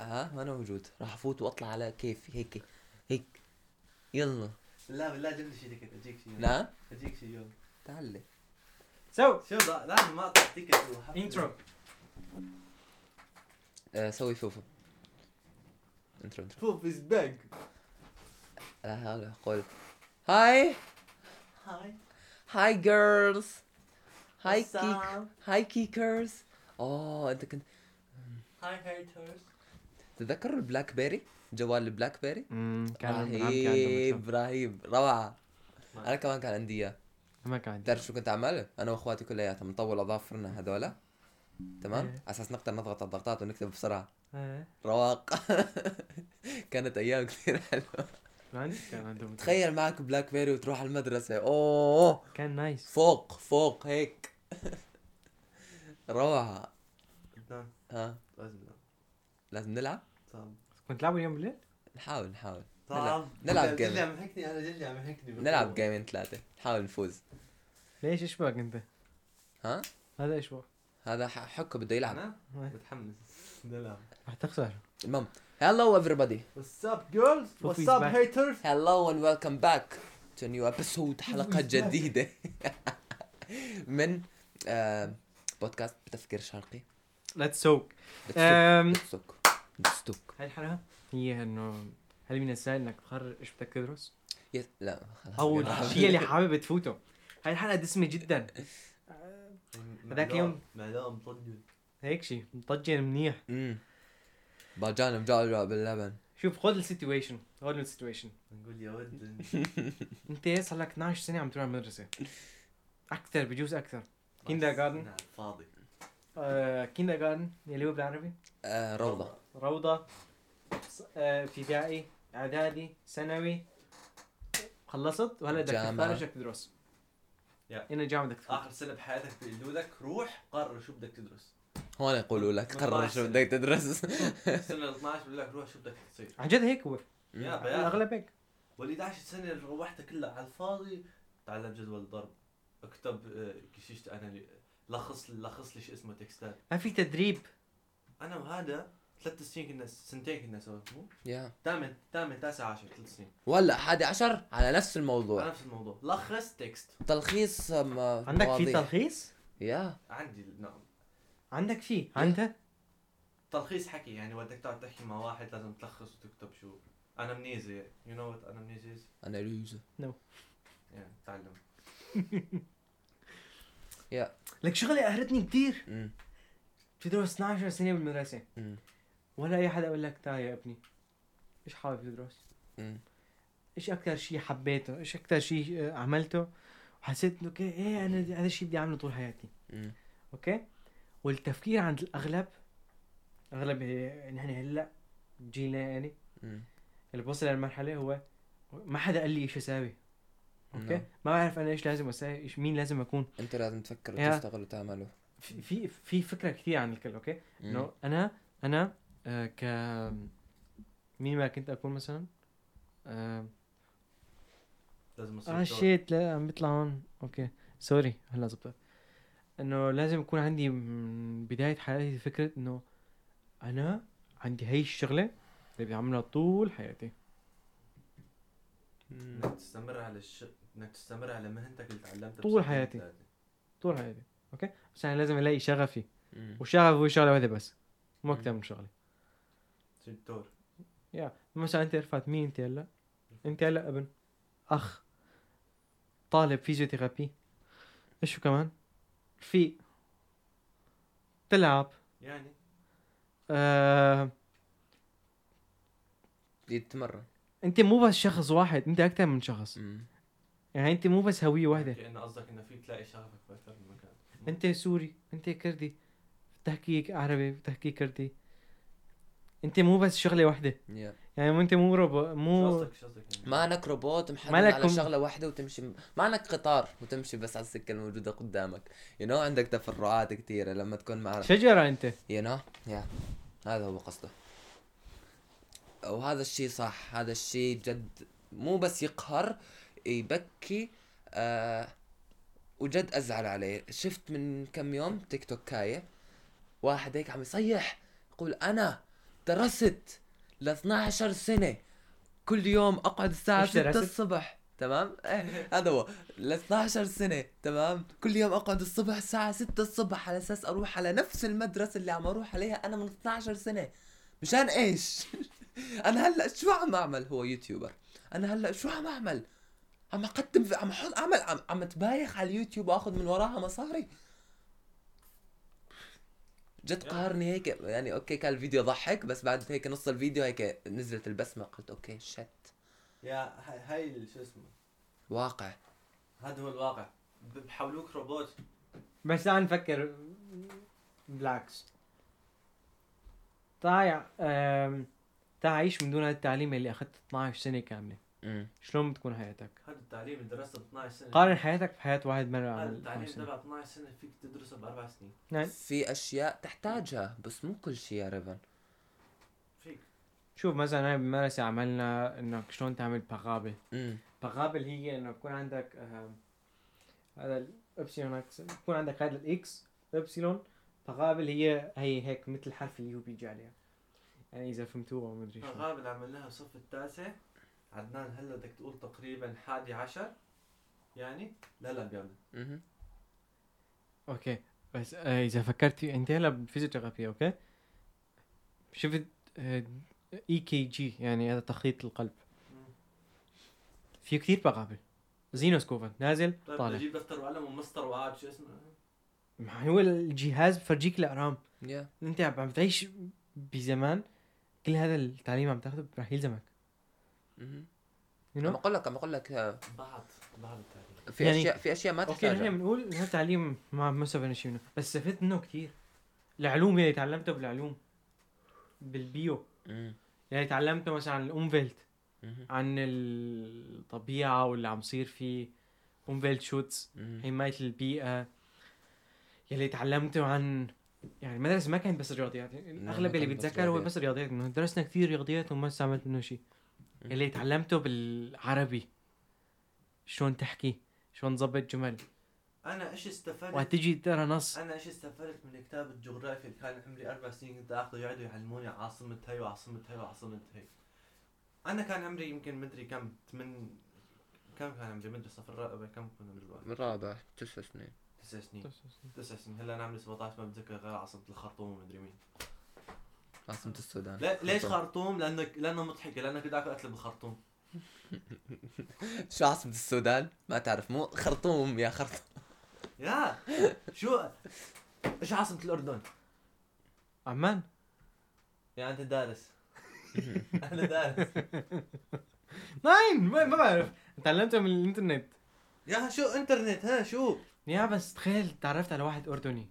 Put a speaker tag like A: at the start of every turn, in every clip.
A: اه وانا موجود راح افوت واطلع على كيفي هيك هيك يلا
B: لا بالله جيب لي شيء تيكت اجيك شيء
A: نعم
B: اجيك شيء يلا
A: تعال لي.
C: سو
B: شوف لا- لازم ما اقطع تيكت وحفلة.
C: انترو
A: آه سوي فوفو انترو انترو
B: فوف از باك
A: لا حول ولا قوة هاي
B: هاي
A: هاي جيرلز هاي
B: What's up?
A: كيك هاي كيكرز اوه انت كنت
B: هاي هيترز
A: تتذكر البلاك بيري جوال البلاك بيري
C: كان نعم. عندهم
A: رهيب رهيب روعة انا كمان كان عندي اياه
C: ما كان عندي
A: تعرف شو كنت اعمل؟ انا واخواتي كلياتهم نطول اظافرنا هذولا تمام؟
C: إيه.
A: على اساس نقدر نضغط الضغطات ونكتب بسرعة
C: إيه.
A: رواق كانت ايام كثير حلوه
C: ما عندي كان عندهم
A: تخيل معك بلاك بيري وتروح على المدرسة اوه
C: كان نايس
A: فوق فوق هيك روعة
B: نعم
A: ها
B: لازم نعم.
A: لازم نلعب
B: طب
C: كنت تلعبوا اليوم بالليل؟
A: نحاول نحاول
B: طب جلي-
A: نلعب game.
B: جلي عم يحكني انا جلي عم يحكني
A: نلعب جيمين ثلاثة نحاول نفوز
C: ليش ايش بك انت؟
A: ها
C: هذا ايش بك؟
A: هذا ح- حكه بده يلعب
B: انا
C: نعم.
B: متحمس نلعب
C: راح تخسر
A: المهم hello everybody
B: What's up girls
C: فوف
B: What's
C: is
B: up
C: back.
B: haters
A: hello and welcome back to a new episode حلقة جديدة من آه، بودكاست بتفكير شرقي
C: ليتس سوك أم.
A: بتسوق بتسوق
C: هاي الحلقه هي انه هل من السهل انك تقرر ايش بدك تدرس؟
A: يس لا خلاص
C: او
A: يلا.
C: الشيء اللي حابب تفوته هاي الحلقه دسمه جدا هذاك يوم.
B: معلوم طنجة
C: هيك شيء مطجن منيح
A: امم باجان مجعجع باللبن
C: شوف خذ السيتويشن خذ السيتويشن
B: نقول يا ود
C: انت صار لك 12 سنه عم تروح المدرسه اكثر بجوز اكثر كيندر جاردن
B: نعم فاضي
C: آه كيندر جاردن اللي هو بالعربي
A: آه روضة
C: روضه ص- آه، ابتدائي اعدادي ثانوي خلصت وهلا بدك
A: جامعة.
C: تختار ايش بدك تدرس
B: Yeah.
C: هنا الجامعه بدك تفوت
B: اخر سنه بحياتك بيقولوا لك روح قرر شو بدك تدرس
A: هون يقولوا لك قرر شو بدك تدرس
B: السنه ال 12 بيقول لك روح شو بدك تصير
C: عن جد هيك هو
B: يا بيان
C: الاغلب هيك
B: وال 11 سنه اللي روحتها كلها على الفاضي تعلم جدول ضرب اكتب آه، كشيشت انا لي- لخص لخص لي شو اسمه تكستات
C: ما في تدريب
B: انا وهذا ثلاث سنين كنا سنتين كنا سوا مو
A: يا
B: ثامن ثامن تاسع عشر ثلاث سنين
A: ولا 11 على نفس
B: على
A: الموضوع
B: نفس الموضوع لخص تكست
A: تلخيص آم، آه،
C: عندك في
A: مواضيع.
C: تلخيص
A: يا
B: عندي نعم
C: عندك في انت
B: تلخيص حكي يعني بدك تقعد تحكي مع واحد لازم تلخص وتكتب شو انمنيزي يو نو وات انمنيزي از
A: انا لوزة
B: يعني تعلم
C: لك شغله قهرتني كثير
A: أمم،
C: تدرس 12 سنه بالمدرسه
A: أمم،
C: ولا اي حدا قال لك تعال يا ابني ايش حابب تدرس؟
A: أمم.
C: ايش اكثر شيء حبيته؟ ايش اكثر شيء آه، عملته؟ وحسيت انه اوكي ايه انا هذا الشيء بدي اعمله طول حياتي
A: أمم.
C: اوكي؟ والتفكير عند الاغلب اغلب آه، نحن هلا جيلنا يعني
A: أمم.
C: اللي بوصل للمرحله هو ما حدا قال لي ايش اساوي اوكي؟
A: نعم.
C: ما بعرف انا ايش لازم اساوي، ايش مين لازم اكون
A: انت لازم تفكر
C: يا.
A: وتشتغل وتعمل و-
C: في في في فكره كثير عن الكل اوكي؟
A: أمم.
C: انه انا انا آه ك مين ما كنت اكون مثلا آه
B: لازم اصير
C: اه شيت لا عم بيطلع هون اوكي سوري هلا زبطت انه لازم يكون عندي من بدايه حياتي فكره انه انا عندي هي الشغله اللي بدي اعملها طول حياتي
A: أمم.
B: انك تستمر على الش... انك تستمر على مهنتك اللي تعلمتها
C: طول
B: بسنتين
C: حياتي.
B: ثلاثة.
C: طول حياتي اوكي بس انا لازم الاقي شغفي
A: أمم.
C: والشغف هو شغله واحده بس مو اكثر من شغله
B: تصير دكتور
C: مثلا انت رفعت مين انت هلا انت هلا ابن اخ طالب فيزيوثيرابي ايش شو كمان في تلعب
B: يعني
C: آه...
A: يتمرن
C: انت مو بس شخص واحد انت اكثر من شخص
A: أمم.
C: يعني انت مو بس هويه واحده
B: كأنه قصدك انه في تلاقي شغفك باكثر من مكان
C: انت سوري انت كردي بتحكي عربي بتحكي كردي انت مو بس شغله واحده
A: يا.
C: يعني مو انت مو روبو
B: شو
C: مو
B: قصدك شو قصدك يعني؟
A: ما انك روبوت محمل
C: مالك
A: على
C: كم-
A: شغله واحده وتمشي ما انك قطار وتمشي بس على السكه الموجوده قدامك يو you know, عندك تفرعات كثيره لما تكون مع
C: شجره انت
A: يو نو يا هذا هو قصده وهذا الشيء صح هذا الشيء جد مو بس يقهر يبكي آه وجد ازعل عليه شفت من كم يوم تيك توكايه واحد هيك عم يصيح يقول انا درست ل 12 سنه كل يوم اقعد الساعه
C: إيش
A: 6
C: درست؟
A: الصبح تمام إيه، هذا هو ل 12 سنه تمام كل يوم اقعد الصبح الساعه 6 الصبح على اساس اروح على نفس المدرسه اللي عم اروح عليها انا من 12 سنه مشان ايش انا هلا شو عم اعمل هو يوتيوبر انا هلا شو عم اعمل عم اقدم في- عم احط اعمل عم, عم اتبايخ على اليوتيوب واخذ من وراها مصاري جد قهرني هيك يعني اوكي كان الفيديو ضحك بس بعد هيك نص الفيديو هيك نزلت البسمه قلت اوكي شت
B: يا هاي- هاي ال- شو اسمه
A: واقع
B: هذا هو الواقع ب- بحولوك روبوت
C: بس تعال نفكر بالعكس تعال أم، تعال عيش من دون هذا التعليم اللي اخذت 12 سنه كامله
A: امم
C: شلون بتكون حياتك
B: هذا التعليم اللي درسته ب 12 سنه
C: قارن آه، حياتك بحياه واحد ما
B: هذا
C: عمل 12
B: التعليم
C: سنه
B: تبع 12 سنه فيك تدرسه باربع سنين
C: نعم.
A: في اشياء تحتاجها بس مو كل شيء يا ريفن
B: فيك
C: شوف مثلا انا بالمدرسه عملنا انك شلون تعمل بغابه
A: امم
C: بغابه اللي هي انه يكون عندك أم، هذا الابسيلون اكس يكون عندك هذا الاكس ابسيلون بغابه اللي هي هي هيك مثل حرف اليو بيجي عليها يعني اذا فهمتوها ما ادري شو
B: الغابة اللي عملناها بالصف التاسع عدنان هلا بدك تقول تقريبا حادي عشر يعني لا لا بيعمل
A: اها
C: اوكي بس آه، اذا فكرت في- انت هلا بفيزيوثيرابي اوكي شفت آه، اي كي جي يعني هذا تخطيط القلب
B: مم.
C: في كثير بغابه زينوسكوفا نازل
B: طيب
C: طالع
B: بجيب دفتر وقلم ومسطر وقاعد شو اسمه
C: ما هو الجهاز بفرجيك الارقام
A: يا
C: انت عم عم تعيش بزمان كل هذا التعليم عم تاخذه راح يلزمك
A: مهم.
C: you
A: عم
C: know?
A: اقول لك عم اقول لك آه،
B: بعض بعض التعليم
A: في
C: يعني-
A: اشياء في اشياء ما
C: اوكي
A: تحتاجها
C: نحن
B: نعم.
C: بنقول انه التعليم ما ما استفدنا شيء منه بس استفدت منه كثير العلوم اللي تعلمته بالعلوم بالبيو
A: مم.
C: يعني تعلمته مثلا عن الامفيلت
A: مهم.
C: عن الطبيعه واللي عم صير فيه امفيلت شوتس
A: مهم.
C: حمايه البيئه يلي تعلمته عن يعني المدرسه ما كانت بس رياضيات يعني
A: ما
C: الاغلب اللي
A: كانت بس
C: بتذكره هو
A: رياضيات.
C: بس رياضيات انه درسنا كثير رياضيات وما استعملت منه شيء
A: مم.
C: اللي تعلمته بالعربي شلون تحكي شلون تظبط جمل
B: انا ايش استفدت
C: وهتجي تقرا نص
B: انا ايش استفدت من كتاب الجغرافيا اللي كان عمري اربع سنين كنت اخذه يقعدوا يعلموني عاصمة هي وعاصمة هي وعاصمة هي انا كان عمري يمكن مدري كم ثمان كم كان عمري مدري صف الرابع كم كنا بالوقت
A: رابع تسع سنين
B: تسع سنين تسع سنين هلا انا عمري 17 ما بتذكر غير عاصمة الخرطوم ومدري مين
A: عاصمة السودان
B: لا ليش
A: خرطوم.
B: خرطوم؟ لانك لانه مضحكه لانك بدك اقتل بالخرطوم
A: شو عاصمة السودان؟ ما تعرف مو خرطوم يا خرطوم
B: يا شو ايش عاصمة الاردن؟
C: عمان
B: يا انت دارس انا دارس
C: ناين ما ما بعرف تعلمته من الانترنت
B: يا شو انترنت ها شو؟
C: يا بس تخيل تعرفت على واحد اردني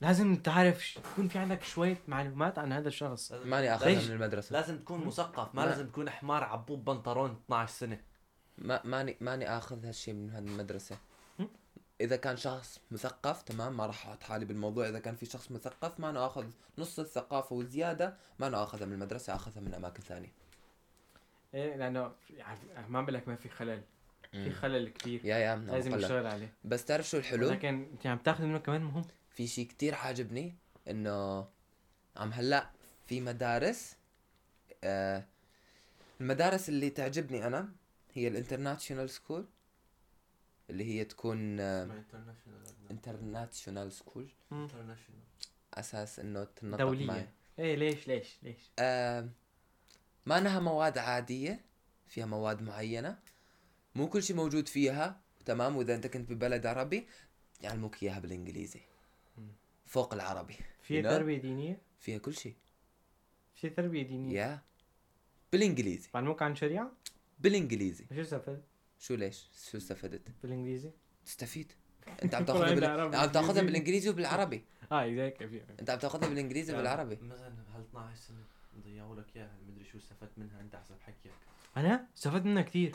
C: لازم تعرف ش- يكون في عندك شويه معلومات عن هذا الشخص
A: ماني اخذها
C: ليش؟
A: من المدرسة
B: لازم تكون مثقف ما
A: ما-
B: لازم تكون حمار عبوب بنطلون 12 سنه
A: ما ماني ماني اخذ هالشيء من هاد المدرسة
C: هم؟
A: إذا كان شخص مثقف تمام ما راح أحط حالي بالموضوع إذا كان في شخص مثقف ما أنا آخذ نص الثقافة والزيادة ما أنا آخذها من المدرسة آخذها من أماكن ثانية
C: ايه لانه يعني ما بقول لك ما في خلل في
A: مم.
C: خلل كبير
A: يا يا أنا
C: لازم
A: بقول لك.
C: نشتغل عليه
A: بس تعرف شو الحلو؟
C: لكن انت عم تاخذ منه كمان مهم
A: في شيء كتير عاجبني انه عم هلا في مدارس آه المدارس اللي تعجبني انا هي الانترناشونال سكول اللي هي تكون آه،
C: آه.
B: انترناشونال
A: انترناشونال سكول
B: انترناشونال
A: اساس انه تنطق
C: دولية.
A: معي.
C: ايه ليش ليش ليش
A: آه ما انها مواد عاديه فيها مواد معينه مو كل شيء موجود فيها تمام واذا انت كنت ببلد عربي يعلموك اياها بالانجليزي
C: مم.
A: فوق العربي
C: في
A: You know?
C: تربيه دينيه
A: فيها كل شيء
C: في تربيه دينيه
A: يا بالانجليزي
C: معلومك عن شريعه
A: بالانجليزي
C: شو استفدت
A: شو ليش شو استفدت
C: بالانجليزي
A: تستفيد انت عم
C: كل
A: تاخذها
C: عندي
A: بال...
C: عربي
A: عم تاخذها
C: وإنجليزي.
A: بالانجليزي وبالعربي
B: آه،
C: اه ذاك في
A: انت عم تاخذها بالانجليزي
C: يعني.
A: وبالعربي
B: مثلا هل 12 سنه ضيعوا لك اياها مدري شو استفدت منها انت حسب حكيك
C: انا استفدت منها كثير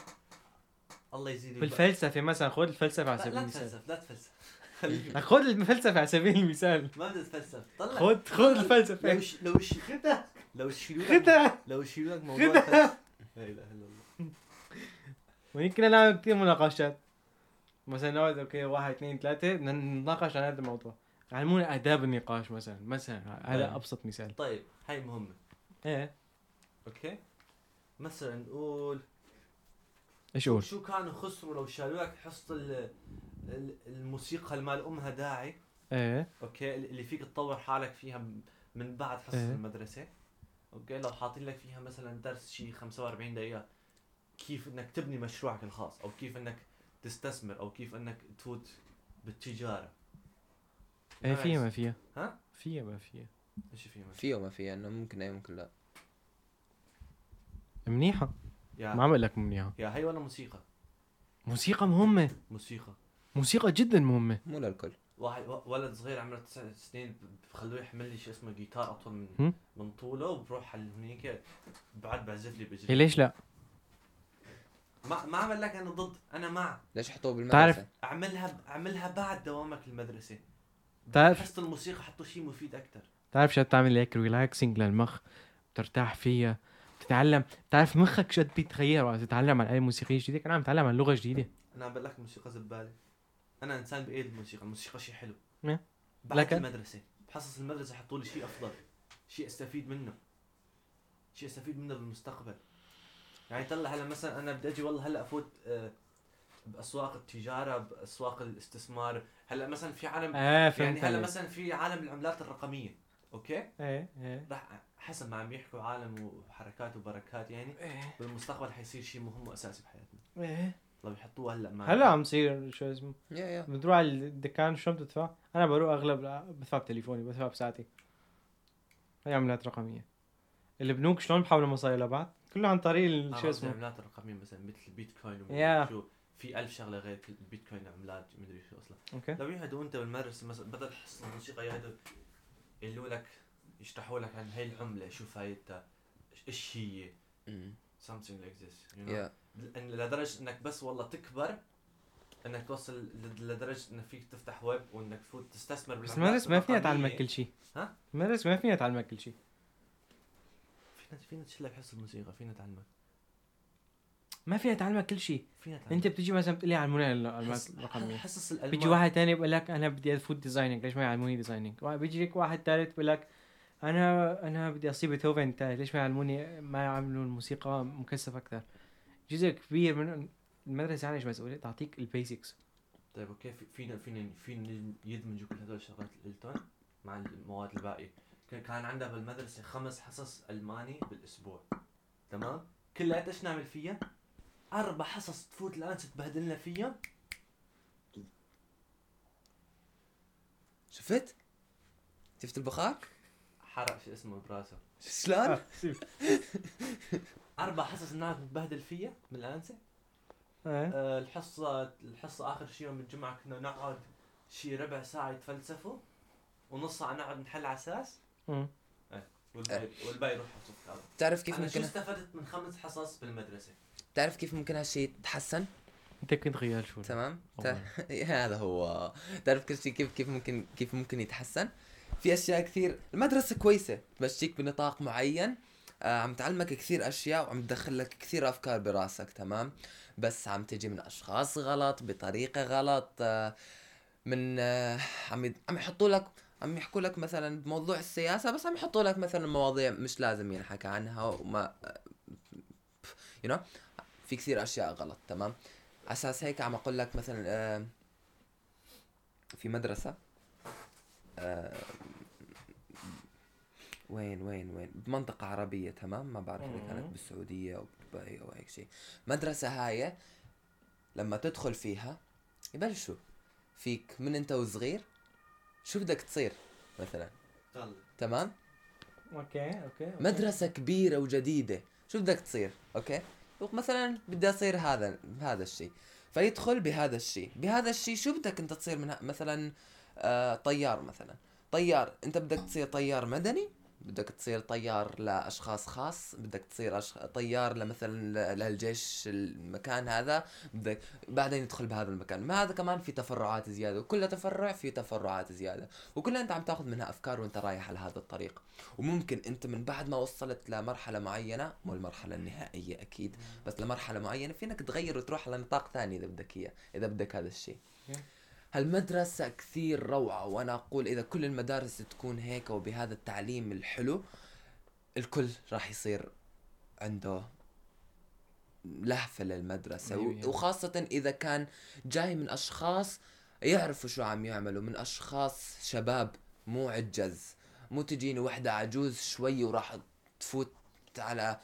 B: الله يزيد
C: بالفلسفه مثلا خذ الفلسفه على
B: لا,
C: سبيل
B: لا
C: المثال
B: تفلسف لا تفلسف خليك
C: خذ الفلسفه على سبيل المثال
B: ما بدي تفلسف طلع
C: خذ خذ
B: لو
C: الفلسفه
B: ش... لو ش... لو شيلوا لك
C: خذها
B: لو شيلوا لك موضوع الفلسفة. لا اله الا الله
C: ويمكن نعمل كثير مناقشات مثلا نقعد اوكي واحد اثنين ثلاثه بدنا نتناقش عن هذا الموضوع علمونا آداب النقاش مثلا مثلا
B: طيب.
A: نعم.
C: هذا أبسط مثال
B: طيب هاي مهمة
C: إيه
B: اوكي مثلا نقول
C: إيش أقول؟
B: شو كانوا خسروا لو شالوا لك حصة ال- ال- الموسيقى اللي مال امها داعي
C: إيه
B: اوكي اللي فيك تطور حالك فيها م- من بعد حصة
C: إيه.
B: المدرسة اوكي لو حاطين لك فيها مثلا درس شي 45 دقيقة كيف انك تبني مشروعك الخاص او كيف انك تستثمر او كيف انك تفوت بالتجارة
C: إيه
B: Nice.
C: فيها ما فيها
B: ها؟
C: فيها ما فيها
B: ايش في مشروع؟
A: فيه وما فيه انه ممكن اي ممكن لا
C: منيحة
B: يا
C: ما عم بقول لك منيحة
B: يا هي ولا موسيقى
C: موسيقى مهمة
B: موسيقى
C: موسيقى جدا مهمة
A: مو للكل
B: واحد و- ولد صغير عمره تسع سنين ب- بخلوه يحمل لي شو اسمه جيتار اطول من
C: هم؟
B: من طوله وبروح على هنيك بعد بعزف لي
C: إيه
B: بجري
C: ليش لا؟
B: ما ما عمل لك انا ضد انا مع
A: ليش حطوه
C: تعرف-
A: بالمدرسه
B: اعملها اعملها بعد دوامك المدرسه
C: تعرف
B: حصه الموسيقى حطوا شيء مفيد اكثر
C: بتعرف شو بتعمل هيك ريلاكسنج للمخ بترتاح فيها بتتعلم بتعرف مخك شو قد بيتغير وقت تتعلم عن آلة موسيقية جديدة كان عم تتعلم عن لغة جديدة
B: انا عم بقول لك الموسيقى زباله انا انسان بايد الموسيقى الموسيقى شيء حلو
C: إيه.
B: بعد
C: لكن-
B: المدرسه بحصص المدرسه حطوا لي شيء افضل شيء استفيد منه شيء استفيد منه بالمستقبل يعني طلع هلا مثلا انا بدي اجي والله هلا افوت آه، باسواق التجاره باسواق الاستثمار هلا مثلا في عالم
C: ايه
B: يعني
C: فهمت
B: هلا
C: عليك.
B: مثلا في عالم العملات الرقميه اوكي
C: ايه ايه
B: راح حسب ما عم يحكوا عالم وحركات وبركات يعني
C: إيه.
B: بالمستقبل حيصير شيء مهم واساسي بحياتنا
C: ايه
B: لو يحطوه هلا ما
C: هلا عم تصير شو اسمه
A: يا يا
C: بتروح على الدكان شو بتدفع؟ انا بروح اغلب لا، بدفع بتليفوني بدفع بساعتي هي عملات رقمية البنوك شلون بحولوا مصاري لبعض؟ كله عن طريق شو
B: شو
C: اسمه
B: العملات الرقميه مثلا مثل البيتكوين
C: يا.
B: ومدري شو في ألف شغله غير البيتكوين عملات مدري شو اصلا
C: اوكي
B: لو يهدوا انت بالمدرسه مثلا بدل حصه الموسيقى يهدوا يقولوا لك يشرحوا لك عن هي العمله شو فايدتها إيش- ايش هي
A: أمم.
B: something like this you know
A: يا
B: إن- لدرجه انك بس والله تكبر انك توصل لد- لدرجه انك فيك تفتح ويب وانك تفوت تستثمر
C: بس
B: بالعملات
C: المدرسة ما فيها
B: الرقمية.
C: تعلمك كل شيء
B: يعني ها؟
C: المدرسة ما فيها تعلمك كل شيء
B: فينا فينا تشيل لك حصه الموسيقى فينا تعلمك
C: ما فيها تعلمك كل شيء
B: فينا تعلمك
C: انت بتجي مثلا بتقلي علمونا العلامات
B: حص-
C: الرقميه
B: حصص الالمان
C: بيجي واحد تاني بيقول لك انا بدي افوت ديزايننج ليش ما يعلموني ديزايننج بيجي لك واحد تالت بيقول لك انا انا بدي اصير بيتهوفن تالت ليش ما يعلموني ما يعملوا الموسيقى مكثفه اكثر جزء كبير من المدرسه يعني ايش مسؤوليه تعطيك البيزكس
B: طيب اوكي في- فينا فينا فينا يدمجوا كل هدول الشغلات اللي قلتهم مع المواد الباقيه كان- كان عندنا بالمدرسه خمس حصص الماني بالاسبوع تمام كلها ايش نعمل فيها اربع حصص تفوت الان تتبهدلنا فيها
A: شفت شفت البخار
B: حرق شو اسمه براسه
A: شلون
B: اربع حصص الناس نتبهدل فيها من الانسه
C: ايه
B: آه، الحصه الحصه اخر شيء يوم الجمعه كنا نقعد شي ربع ساعه يتفلسفوا ونص ساعه نقعد نحل على اساس
C: أمم.
B: والباقي والباقي يروح حصه كتابه
A: بتعرف كيف
B: انا شو
A: ممكن
B: استفدت من خمس حصص بالمدرسه
A: بتعرف كيف ممكن هالشيء يتحسن
C: انت كنت خيال شو
A: تمام
C: أولاً.
A: تع- هذا هو تعرف كل شيء كيف كيف ممكن كيف ممكن يتحسن في اشياء كثير المدرسه كويسه تمشيك بنطاق معين آه، عم تعلمك كثير اشياء وعم تدخل لك كثير افكار براسك تمام بس عم تجي من اشخاص غلط بطريقه غلط آه، من آه، عم يد- عم يحطوا لك عم يحكوا لك مثلا بموضوع السياسه بس عم يحطوا لك مثلا مواضيع مش لازم ينحكى عنها وما يو you know? في كثير اشياء غلط تمام اساس هيك عم اقول لك مثلا آه، في مدرسه آه، وين وين وين بمنطقة عربية تمام ما بعرف إذا كانت
C: مم.
A: بالسعودية أو بدبي أو هيك شيء مدرسة هاي لما تدخل فيها يبلشوا فيك من أنت وصغير شو بدك تصير مثلا
B: يلا
A: تمام
C: اوكي اوكي
A: مدرسة كبيرة وجديدة شو بدك تصير اوكي مثلا بدي اصير هذا هذا الشيء فيدخل بهذا الشيء بهذا الشيء شو بدك انت تصير من ه- مثلا آه طيار مثلا طيار انت بدك تصير طيار مدني بدك تصير طيار لاشخاص خاص بدك تصير أش... طيار لمثلا ل- للجيش المكان هذا بدك بعدين يدخل بهذا المكان ما هذا كمان في تفرعات زياده وكل تفرع في تفرعات زياده وكلها انت عم تاخذ منها افكار وانت رايح على هذا الطريق وممكن انت من بعد ما وصلت لمرحله معينه مو المرحله النهائيه اكيد بس لمرحله معينه فينك تغير وتروح على نطاق ثاني اذا بدك اياه اذا بدك هذا الشيء
C: اوكي.
A: هالمدرسة كثير روعة وأنا أقول إذا كل المدارس تكون هيك وبهذا التعليم الحلو الكل راح يصير عنده لهفة للمدرسة
C: أيوة،
A: و-
C: يعني.
A: وخاصة إذا كان جاي من أشخاص يعرفوا شو عم يعملوا من أشخاص شباب مو عجز مو تجيني وحدة عجوز شوي وراح تفوت على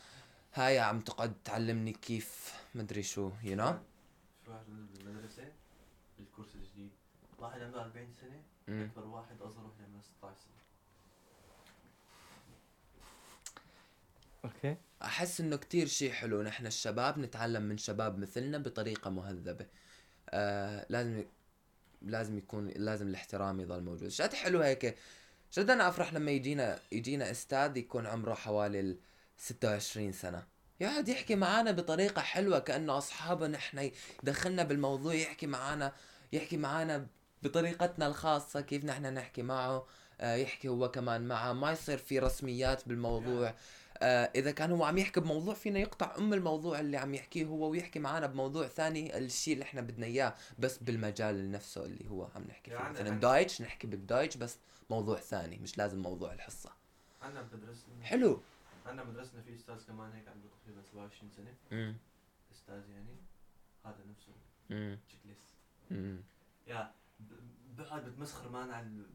A: هاي عم تقعد تعلمني كيف مدري شو يو you know?
B: في واحد نزل بالمدرسة بالكورس الجديد واحد عنده 40 سنة
A: مم.
B: أكبر واحد أصغر واحد عمره 16 سنة
C: اوكي
A: أحس إنه كتير شي حلو نحن الشباب نتعلم من شباب مثلنا بطريقة مهذبة آه لازم لازم يكون لازم الاحترام يضل موجود شاد حلو هيك جد أنا أفرح لما يجينا يجينا أستاذ يكون عمره حوالي ال 26 سنة يقعد يحكي معانا بطريقة حلوة كأنه أصحابه نحن دخلنا بالموضوع يحكي معانا يحكي معانا بطريقتنا الخاصة كيف نحن نحكي معه آه يحكي هو كمان معه ما يصير في رسميات بالموضوع آه، اذا كان هو عم يحكي بموضوع فينا يقطع ام الموضوع اللي عم يحكيه هو ويحكي معنا بموضوع ثاني الشيء اللي احنا بدنا اياه بس بالمجال نفسه اللي هو عم نحكي فيه
B: يعني
A: مثلا
B: عن-
A: دايتش نحكي بالدايتش بس موضوع ثاني مش لازم موضوع الحصه
B: عندنا بدرسنا
A: حلو
B: عندنا بدرسنا في أستاذ كمان هيك عنده تقريبا 27 سنة
A: امم
B: أستاذ يعني هذا نفسه
A: امم
B: تشيكليست
A: امم
B: يا ب- بقعد بتمسخر مان على ال-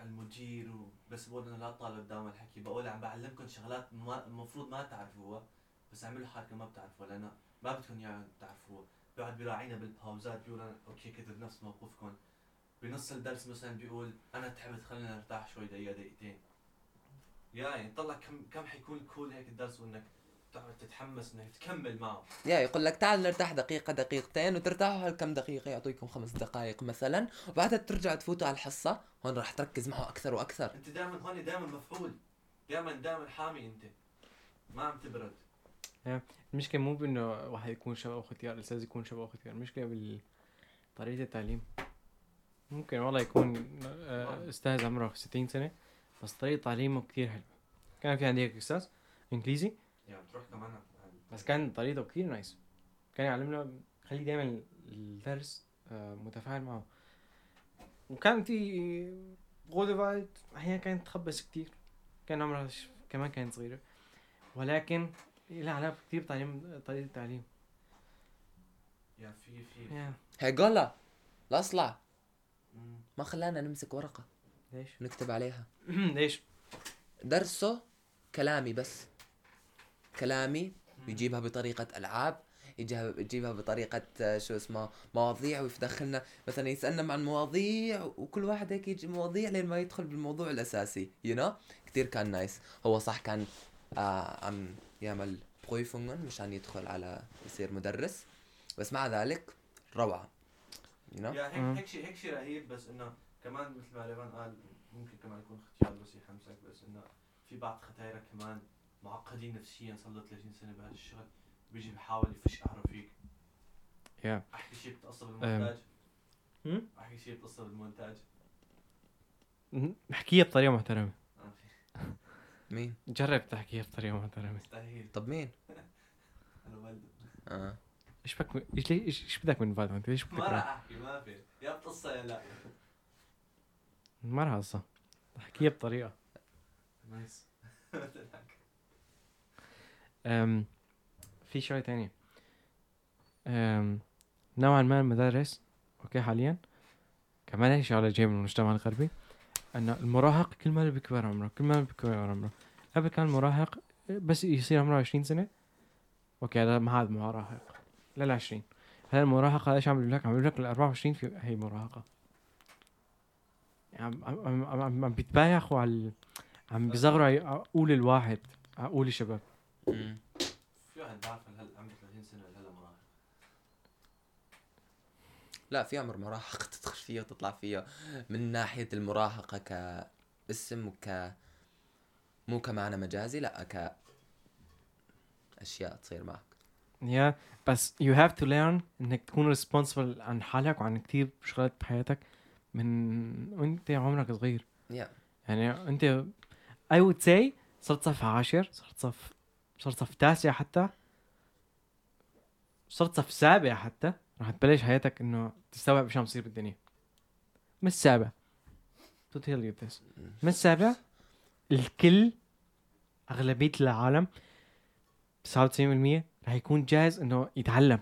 B: على المدير وبس بقول انه لا تطالع قدام الحكي بقول عم بعلمكم شغلات ما- المفروض ما تعرفوها بس اعملوا حالكم ما بتعرفوها لانه ما بدكم اياها تعرفوها بقعد بيراعينا بالباوزات بيقول انا اوكي كنت بنفس موقفكم بنص الدرس مثلا بيقول انا تعبت خلينا نرتاح شوي دقيقه دقيقتين يا يعني طلع كم كم حيكون كول هيك الدرس وانك تقعد تتحمس انك تكمل معه
A: يا يقول لك تعال نرتاح دقيقة دقيقتين وترتاحوا هالكم دقيقة يعطيكم خمس دقائق مثلا وبعدها ترجع تفوتوا على الحصة هون راح تركز معه أكثر وأكثر
B: انت دائما هون دائما مفعول دائما دائما حامي انت ما عم تبرد
C: المشكله مو بانه واحد يكون شباب او ختيار الاستاذ يكون شباب او ختيار المشكله بال طريقه التعليم ممكن والله يكون آه، استاذ عمره 60 سنه بس طريقه تعليمه كثير حلوه كان في عندي هيك استاذ انجليزي
B: يعني بتروح كمان على-
C: بس كان طريقته كتير نايس كان يعلمنا خليك دايما الدرس آه، متفاعل معه وكان في غودة بعد احيانا كانت تخبص كتير كان عمرها ش- كمان كانت صغيرة ولكن لها علاقة كتير بتعليم طريقة التعليم
B: يا في في
C: يا
A: هيقولها لا اصلع
B: مم.
A: ما خلانا نمسك ورقة
C: ليش؟
A: ونكتب عليها
C: ليش؟
A: درسه كلامي بس كلامي يجيبها بطريقة ألعاب يجيبها يجيبها بطريقة آه، شو اسمه مواضيع ويدخلنا مثلا يسألنا عن مواضيع وكل واحد هيك يجي مواضيع لين ما يدخل بالموضوع الأساسي يو you know? كثير كان نايس هو صح كان آه عم يعمل برويفونغن مشان يدخل على يصير مدرس بس مع ذلك روعة you know?
B: يا
C: مم.
B: هيك هيك شيء هيك شيء رهيب بس انه كمان مثل ما ليفان قال ممكن كمان يكون اختيار بس يحمسك بس انه في بعض ختايرك كمان معقدين نفسيا صار له 30 سنه بهذا الشغل بيجي بحاول يفش قهره فيك
C: يا.
B: احكي شيء بتقصر بالمونتاج
C: مم.
B: احكي شيء بتقصر بالمونتاج
C: احكيها بطريقة محترمة
B: آه، أخي،
A: مين
C: جرب تحكيها بطريقة محترمة
B: مستحيل
A: طب مين
B: انا بلد
A: آه.
C: ايش بك من- ايش ليش- ايش بدك من فايت انت؟ ليش بدك
B: ما
C: من-
B: راح احكي ما في يا بتقصى يا لا
C: ما راح اصلا احكيها بطريقة
B: نايس
C: أم في شوي تاني أم نوعا ما المدارس اوكي حاليا كمان هي شغله جايه من المجتمع الغربي ان المراهق كل ما بيكبر عمره كل ما بيكبر عمره قبل كان المراهق بس يصير عمره 20 سنه اوكي هذا ما هذا مراهق لا لا 20 هذا المراهقه ايش عم بيقول لك عم بيقول لك ال 24 في هي مراهقه عم عم عم- عم عم بيتبايخوا على عم بيصغروا على عقول الواحد عقول الشباب
A: مم.
B: في واحد بعرفه هلا عمره 30 سنه هلا مراهق
A: لا في عمر مراهقة تدخل فيه وتطلع فيه من ناحية المراهقة كاسم وك مو كمعنى مجازي لا ك أشياء تصير معك
C: يا بس you have to learn انك تكون responsible عن حالك وعن كتير شغلات بحياتك من وانت عمرك صغير
A: يا
C: يعني انت I would say صرت صف عاشر صرت صف صرت صف تاسع حتى صرت صف سابع حتى رح تبلش حياتك انه تستوعب شو عم يصير بالدنيا من السابع don't tell you this من السابع الكل أغلبية العالم 99% رح يكون جاهز إنه يتعلم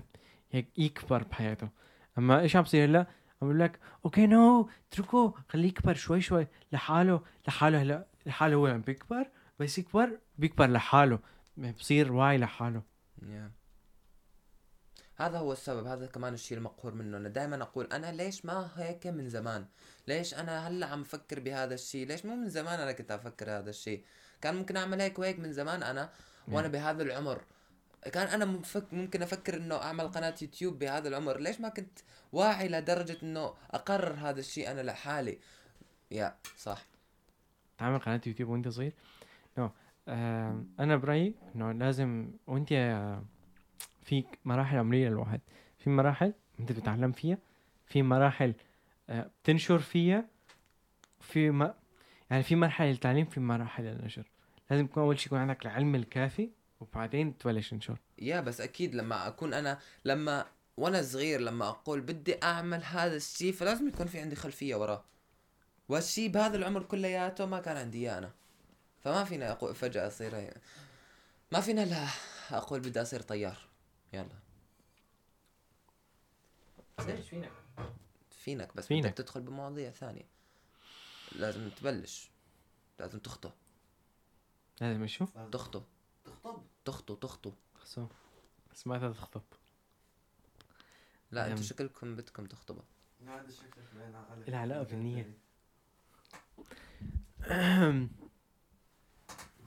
C: هيك يكبر بحياته أما إيش عم بصير هلا عم بقول لك أوكي نو اتركه خليه يكبر شوي شوي لحاله لحاله هلا لحاله هو عم بيكبر بس يكبر بيكبر لحاله بصير واعي لحاله
A: Yeah. هذا هو السبب هذا كمان الشيء المقهور منه انا دائما اقول انا ليش ما هيك من زمان ليش انا هلا عم فكر بهذا الشيء ليش مو من زمان انا كنت عم فكر هذا الشيء كان ممكن اعمل هيك وهيك من زمان انا وانا بهذا العمر كان انا مفك ممكن افكر انه اعمل قناه يوتيوب بهذا العمر ليش ما كنت واعي لدرجه انه اقرر هذا الشيء انا لحالي يا صح
C: تعمل قناة يوتيوب وانت صغير نو آم، انا برأيي انه لازم وانت آه، فيك مراحل عمرية للواحد في مراحل انت بتتعلم فيها في مراحل آه، بتنشر فيها في ما يعني في مرحلة للتعليم في مراحل للنشر لازم يكون اول شيء يكون عندك العلم الكافي وبعدين تبلش تنشر
A: يا بس اكيد لما اكون انا لما وانا صغير لما اقول بدي اعمل هذا الشيء فلازم يكون في عندي خلفيه وراه والشيء بهذا العمر كلياته ما كان عندي اياه انا فما فينا اقول فجاه اصير هي- ما فينا لا اقول بدي اصير طيار يلا
C: ليش فينا
A: فينك بس
C: فينك.
A: بدك تدخل بمواضيع ثانيه لازم تبلش لازم تخطو
C: لازم اشوف
A: تخطو
B: تخطب
A: تخطو تخطو
C: خصو سمعتها تخطب
A: لا انتم
C: أم.
A: شكلكم بدكم تخطبوا
B: لا هذا شكلك باين على
C: إلها علاقة بالنية.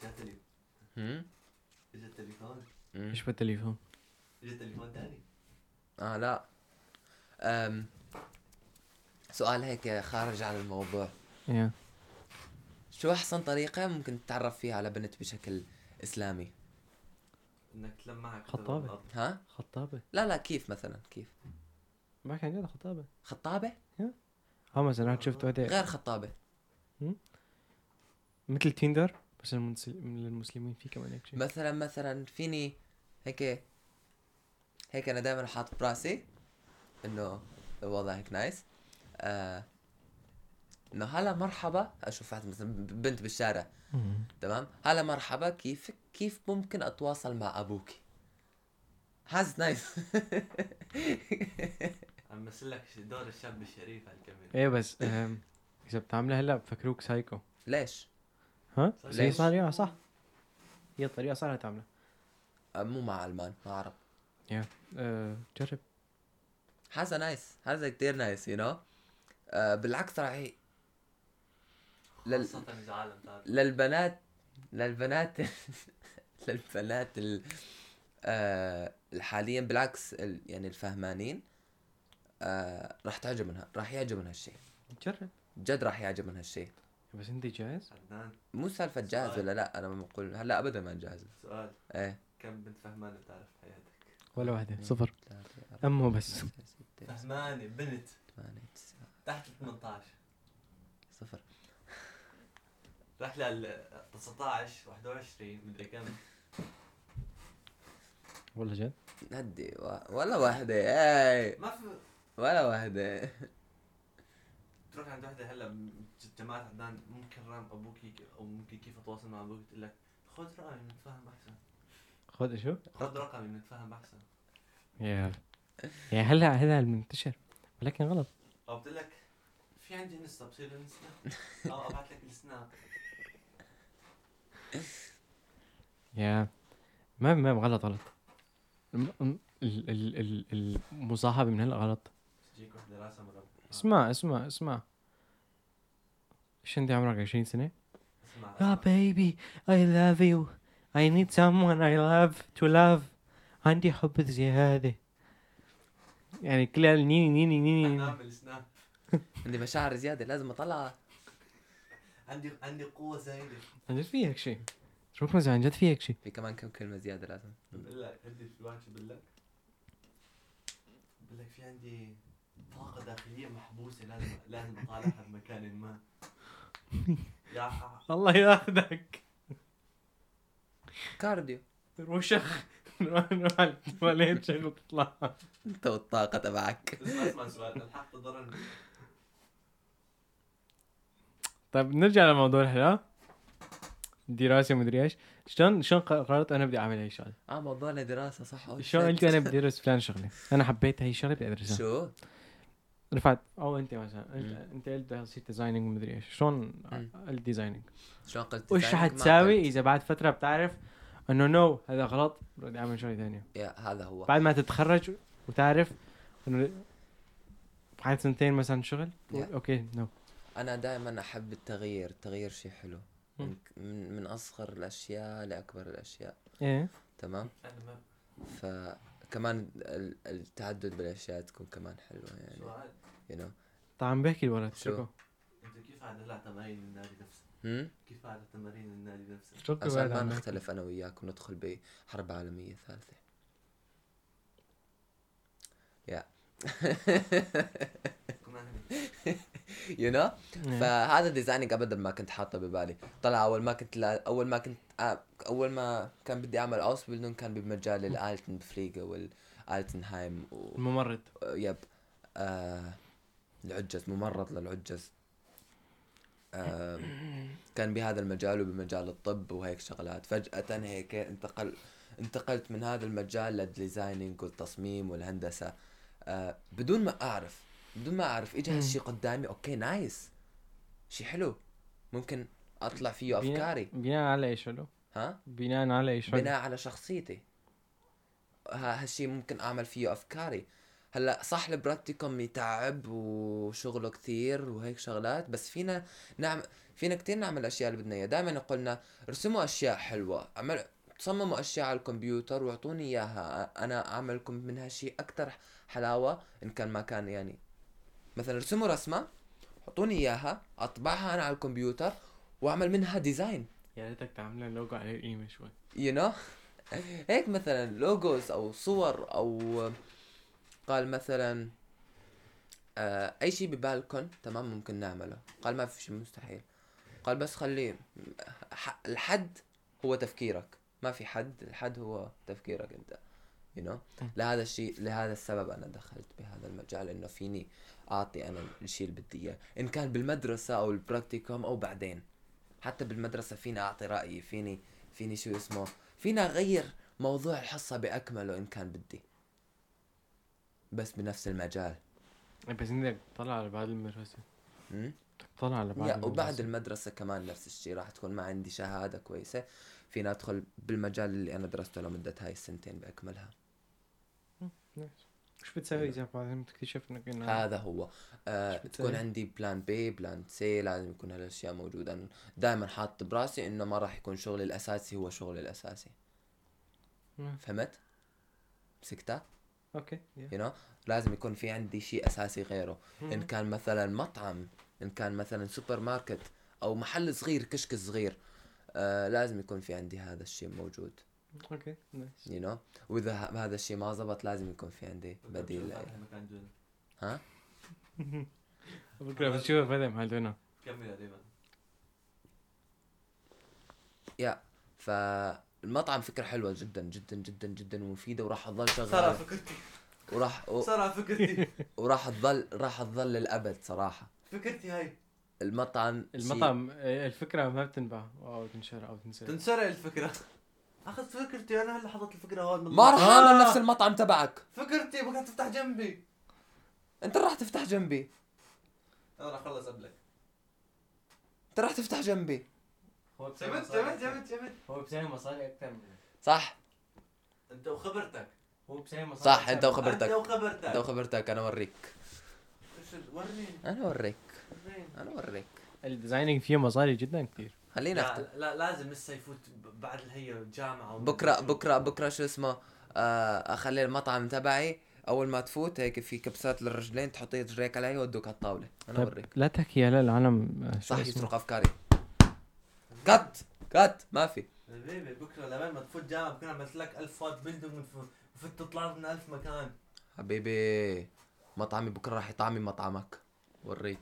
B: جات لي
A: هم؟
B: اجى التليفون
A: هم.
C: ايش بالتليفون
B: اجى التليفون ثاني
A: اه لا أم سؤال هيك خارج عن الموضوع
C: يا
A: شو احسن طريقة ممكن تتعرف فيها على بنت بشكل اسلامي
B: انك تلمعك
C: خطابة.
A: ها
C: خطابة
A: لا لا كيف مثلا كيف
C: معك عن جد خطابة
A: خطابة
C: ها مثلا أنا شفت وحدة
A: غير خطابة
C: مثل تيندر بس المنسل- للمسلمين في كمان هيك شيء
A: مثلا مثلا فيني هيك هيك انا دائما حاط براسي انه الوضع هيك نايس آه انه هلا مرحبا اشوف واحد مثلا بنت بالشارع
C: مم.
A: تمام هلا مرحبا كيفك كيف ممكن اتواصل مع ابوك هاز نايس
B: عم مثل لك دور الشاب الشريف على الكاميرا
C: ايه بس أم، اذا بتعملها هلا بفكروك سايكو
A: ليش
C: ها
B: صح.
C: زي
A: ليش؟
C: صار يا صح هي الطريقة صح لا تعملها
A: أه، مو مع المان مع عرب
C: أه، جرب
A: هذا نايس هذا كتير نايس يو نو آه، بالعكس راح لل-
B: خاصة اذا عالم تعرف
A: للبنات للبنات للبنات ال... آه... حاليا بالعكس ال... يعني الفهمانين آه... راح تعجبنها راح يعجبن هالشيء
C: جرب
A: جد راح يعجبن هالشيء
C: بس انت جاهز
B: عدنان
A: مو سالفة جاهز ولا لا انا ما بقول هلا ابدا ما جاهز
B: سؤال
A: ايه
B: كم بنت فهمانة بتعرف بحياتك؟
C: ولا واحدة
A: مم.
C: صفر
A: ثلاثة، أربعة،
C: امه آه. بس
A: خمسة،
C: إيه.
A: ستة،
B: فهمانة بنت
A: ثمانية، تسعة،
B: تحت ال 18
A: صفر
B: راح لل 19 21 مدري كم
C: والله جد
A: هدي و... ولا واحدة اي
B: ما في
A: ولا واحدة
B: تروح عند وحده هلا م- جماعة عدنان ممكن رقم ابوك يك- او ممكن كيف اتواصل مع ابوك تقول لك خذ رقمي بنتفاهم احسن
C: خذ شو
B: خذ رقمي بنتفاهم احسن
C: يا يا هلا هلا المنتشر ولكن غلط
B: او بتقول لك في عندي انستا بصير انستا او ابعث لك السناب
C: يا ما ما غلط غلط الم- الم- ال- ال- ال- المصاحبة من هلا غلط
B: تجيك وحده راسها مربى
C: اسمع اسمع اسمع ايش انت عمرك 20 سنة؟
B: اسمع
C: يا
B: اسمع.
C: بيبي Ah, I love you I need someone I love to love عندي حب زيادة يعني كلها نيني نيني
B: رح
C: نيني
B: نعمل سناب
A: عندي مشاعر زيادة لازم اطلعها
B: عندي عندي قوة زايدة
C: عن جد في هيك شيء ركمز عن جد في هيك شيء
A: في كمان كم كلمة زيادة لازم
B: بقول لك عندي في واحد شو بقول لك بقول لك في عندي طاقة داخلية محبوسة لازم لازم اطالعها بمكان ما يا ع-
C: الله ياخذك
A: كارديو
C: روشخ نروح نروح على التواليت عشان نطلع
A: انت والطاقة تبعك
B: اسمع اسمع سؤال الحق تضرني
C: طيب نرجع لموضوع الحلقه دراسه مدري ايش شلون شلون قررت انا بدي اعمل هاي الشغله
A: اه موضوعنا دراسه صح أول
C: شلون
A: شيء.
C: قلت انا بدي ادرس فلان شغله انا حبيت هاي الشغله بدي ادرسها
A: شو؟
C: رفعت او انت مثلا
A: مم.
C: انت انت قلت بدي أصير ديزايننج ومدري ايش شلون
A: مم.
C: قلت ديزايننج
A: شلون قلت
C: وش
A: designing ما
C: حتساوي
A: قلت.
C: اذا بعد فتره بتعرف انه نو هذا غلط بدي اعمل شغله ثانيه
A: يا هذا هو
C: بعد ما تتخرج وتعرف انه بعد سنتين مثلا شغل
A: Yeah.
C: اوكي نو
A: انا دائما احب التغيير التغيير شيء حلو من,
C: مم.
A: من من اصغر الاشياء لاكبر الاشياء
C: ايه
A: تمام
B: انا ما
A: فكمان ال- التعدد بالاشياء تكون كمان حلوه يعني
B: سؤال
A: يو نو
C: طبعا عم بحكي الولد
A: شو؟
C: شكو
B: انت كيف عاد لا تمارين النادي نفسه؟
A: هم
B: كيف عاد تمارين النادي نفسه؟
C: شكو
A: عشان
C: بعد
A: ما
C: عم بحكي.
A: نختلف انا وياك وندخل بحرب عالميه ثالثه يا
B: كنا عم-
A: يو نو
C: إيه.
A: فهذا ديزايننج ابدا ما كنت حاطه ببالي طلع اول ما كنت لا اول ما كنت آه، اول ما كان بدي اعمل اوس بيلدون كان بمجال الالتن فريجا والالتنهايم و...
C: الممرض
A: يب آه... العجز ممرض للعجز آه... كان بهذا المجال وبمجال الطب وهيك شغلات فجأة هيك انتقل انتقلت من هذا المجال للديزايننج والتصميم والهندسة آه... بدون ما أعرف بدون ما أعرف إجا
C: مم.
A: هالشي قدامي أوكي نايس شي حلو ممكن أطلع فيه
C: بناء-
A: أفكاري
C: بناء على ايش له؟
A: ها
C: بناء على ايش له؟
A: بناء على شخصيتي ه- هالشي ممكن اعمل فيه افكاري هلا صح البراكتيكوم يتعب وشغله كثير وهيك شغلات بس فينا نعم فينا كثير نعمل الاشياء اللي بدنا اياها دائما يقولنا ارسموا اشياء حلوه اعمل صمموا اشياء على الكمبيوتر واعطوني اياها انا اعمل لكم منها شيء اكثر حلاوه ان كان ما كان يعني مثلا ارسموا رسمه حطوني اياها اطبعها انا على الكمبيوتر واعمل منها ديزاين
C: يا ريتك تعملها لوجو عليه قيمه شوي
A: يو نو هيك مثلا لوجوز او صور او قال مثلا آه اي شيء ببالكم تمام ممكن نعمله قال ما في شيء مستحيل قال بس خليه ح- الحد هو تفكيرك ما في حد الحد هو تفكيرك انت يو you know? لهذا الشيء لهذا السبب انا دخلت بهذا المجال انه فيني اعطي انا الشيء اللي بدي اياه ان كان بالمدرسه او البراكتيكوم او بعدين حتى بالمدرسه فيني اعطي رايي فيني فيني شو اسمه فينا اغير موضوع الحصه باكمله ان كان بدي بس بنفس المجال
C: بس انت بدك تطلع على بعد المدرسه
A: م?
C: بدك تطلع على بعد
A: يا وبعد
C: المدرسة.
A: المدرسه كمان نفس الشيء راح تكون ما عندي شهاده كويسه فينا ادخل بالمجال اللي انا درسته لمده هاي السنتين باكملها
C: نايس. شو بتسوي اذا بعدين بتكتشف انك انه
A: هذا هو آه
C: نعم. شو بتسوي؟
A: تكون عندي بلان بي بلان سي لازم يكون هالاشياء موجوده انا دائما حاطط براسي انه ما راح يكون شغلي الاساسي هو شغلي الاساسي
C: مم.
A: فهمت مسكتها
C: اوكي يا.
A: يو you know? لازم يكون في عندي شيء اساسي غيره
C: Hm,
A: ان كان مثلا مطعم ان كان مثلا سوبر ماركت او محل صغير كشك صغير آه لازم يكون في عندي هذا الشيء موجود
C: اوكي نايس
A: يو you know? واذا ه- هذا الشيء ما زبط لازم يكون في عندي بديل
B: فتح
A: له.
B: مكان جنة.
A: ها
C: بكره بتشوف هذا محل دونا
B: كمل يا ديما
A: يا فالمطعم فكره حلوه جدا جدا جدا جدا ومفيده وراح تظل
B: صار
A: شغاله
B: فكرتي
A: وراح و-
B: صار فكرتي
A: وراح تظل راح تظل للابد صراحه
B: فكرتي هاي
A: المطعم شيء-
C: المطعم آه، الفكره ما بتنباع او تنشر او تنسى
B: تنسرع الفكره اخذت فكرتي انا هلا حطيت الفكره هون من
A: ما راح
B: النص.
A: اعمل
B: آه،
A: نفس المطعم تبعك
B: فكرتي ما كانت تفتح جنبي
A: انت راح تفتح جنبي
B: انا راح اخلص قبلك
A: انت راح تفتح جنبي
D: هو بسبب
B: جبت
D: مصاري
B: جبت
D: أكتر.
B: جبت جبت
D: هو بسبب مصاري اكتر منك
A: صح
B: انت وخبرتك
D: هو بسبب مصاري
A: صح
D: أكتر
A: انت
B: انت
D: منك.
A: وخبرتك انت
B: وخبرتك
A: وخبرتك انا اوريك
B: إيش ال- ورني
A: انا اوريك
B: ورني
A: انا اوريك
C: الديزايننج فيه مصاري جدا كثير
A: خلينا أخت-
B: لا, لا لازم لسه يفوت ب- بعد الهي جامعه ومدري
A: بكره
B: شو.
A: بكره بكره شو اسمه آه، اخلي المطعم تبعي اول ما تفوت هيك في كبسات للرجلين تحط رجليك عليها وادوك على الطاوله انا
C: طيب
A: اوريك
C: لا تحكي هلا العالم آه، شو
A: صح
C: اسمه؟
A: يسرق افكاري كات كات ما في
B: حبيبي بكره لبين ما تفوت جامعه بكره عملت لك 1000 فوت بيلدينج وفت تطلع من 1000 مكان
A: حبيبي مطعمي بكره راح يطعمي مطعمك وريك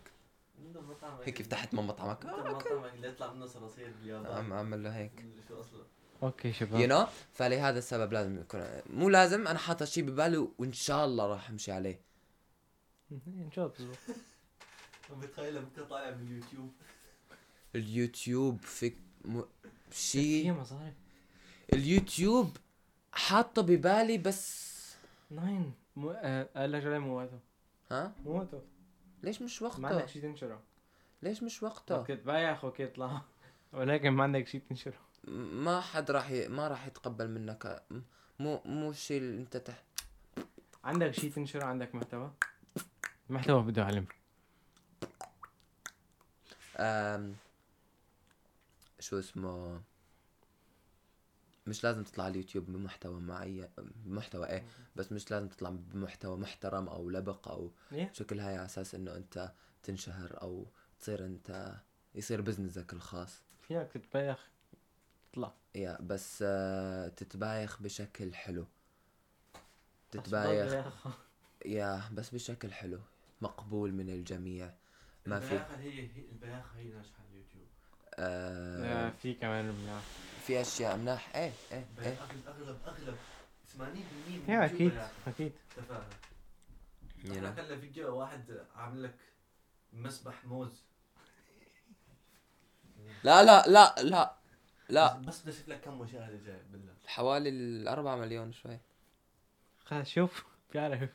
B: عنده مطعم
A: هيك فتحت من مطعمك
B: عنده مطعم اللي يطلع منه صراصير باليابان
A: عم اعمل له هيك
B: مدري شو اصلا
C: اوكي
A: يو
C: شباب
A: نو فلهذا السبب لازم يكون مو لازم انا حاطط شيء ببالي وان شاء الله راح امشي عليه
C: Mhm, ان شاء الله بتزبط
B: عم بتخيله بكره طالع من اليوتيوب
A: اليوتيوب فيك م...
C: في
A: شيء
C: مصاري
A: اليوتيوب حاطه ببالي بس
C: ناين مو آه، قال لك شغله مو وقته
A: ها
C: مو وقته
A: ليش مش
C: ما
A: وقته
C: عندك شيء تنشره
A: ليش مش وقته
C: كنت بايخ وكنت لا ولكن ما عندك شيء تنشره
A: م- ما حد راح ي... ما راح يتقبل منك م- مو مو الشيء اللي انت تح...
C: عندك شيء تنشره عندك محتوى محتوى بده علم
A: آم... شو اسمه مش لازم تطلع على اليوتيوب بمحتوى معين بمحتوى ايه بس مش لازم تطلع بمحتوى محترم او لبق او
C: ليه؟
A: شكل هاي على اساس انه انت تنشهر او تصير انت يصير بزنسك الخاص
C: فيك تتبايخ تطلع
A: يا بس آه، تتبايخ بشكل حلو تتبايخ يا بس بشكل حلو مقبول من الجميع ما في
B: البياخة هي هي- البياخة هي ناجحة على اليوتيوب
C: آه،
A: آه
C: في كمان مناح
A: في اشياء مناح ايه ايه ايه
B: البياخة اغلب اغلب 80% من
C: يا
B: اليوتيوب
C: اكيد
B: بياخة.
C: اكيد
B: تفاهة
A: you
B: احنا
A: know.
B: كان فيديو واحد عامل لك مسبح موز
A: لا لا لا لا لا
B: بس بدي اشوف لك كم مشاهدة جاي بالله
A: حوالي الأربعة مليون شوي
C: خلاص شوف بيعرف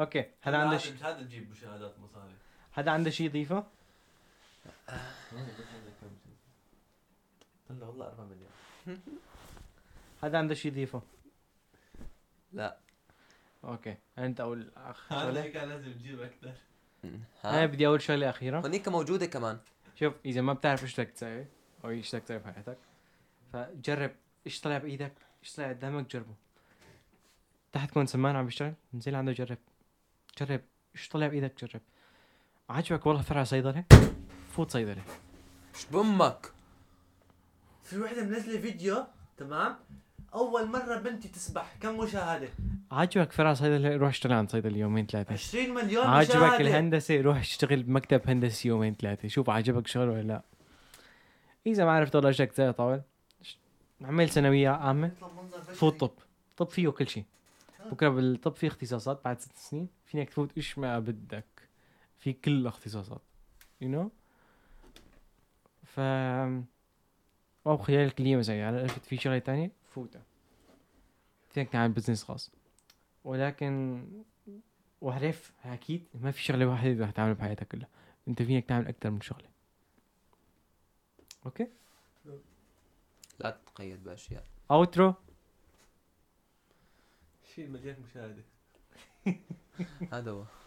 C: اوكي هذا عنده شيء
B: مش هذا تجيب مشاهدات مصاري
C: هذا عنده شيء يضيفه
B: قلت له والله 4 مليون
C: هذا عنده شيء يضيفه
A: لا
C: اوكي انت اول اخ
B: هذا
C: شغله
B: كان لازم تجيب اكثر
C: انا
A: ها
C: بدي اول شغله اخيره
A: هونيك موجودة كمان
C: شوف اذا ما بتعرف ايش بدك تسوي او ايش بدك تسوي بحياتك فجرب ايش طلع بايدك ايش طلع قدامك جربه تحتكم سمان عم بيشتغل انزل عنده جرب جرب ايش طلع بايدك جرب عجبك والله فرع صيدله فوت صيدله
A: ايش بأمك
B: في وحده منزله فيديو تمام اول مره بنتي تسبح كم مشاهده
C: عجبك فرع صيدله روح اشتغل عند صيدله يومين ثلاثه
B: 20 مليون
C: عاجبك
B: مشاهده
C: الهندسه روح اشتغل بمكتب هندسي يومين ثلاثه شوف عاجبك شغل ولا لا اذا ما عرفت والله ايش بدك تسوي طول ش- عمل ثانويه عامه
B: يطلع منظر بشري.
C: فوت طب طب فيه كل شيء بكره بالطب في اختصاصات بعد ست سنين فينك تفوت ايش ما بدك في كل الاختصاصات يو نو ف او خلال كلية مثلا على عرفت في شغله تانية فوتها فينك تعمل بزنس خاص ولكن وعرف اكيد ما في شغله واحده رح تعملها بحياتك كلها انت فينك تعمل اكثر من شغله اوكي
A: لا تتقيد بأشياء
C: اوترو
B: 20 مليون مشاهده
A: هذا هو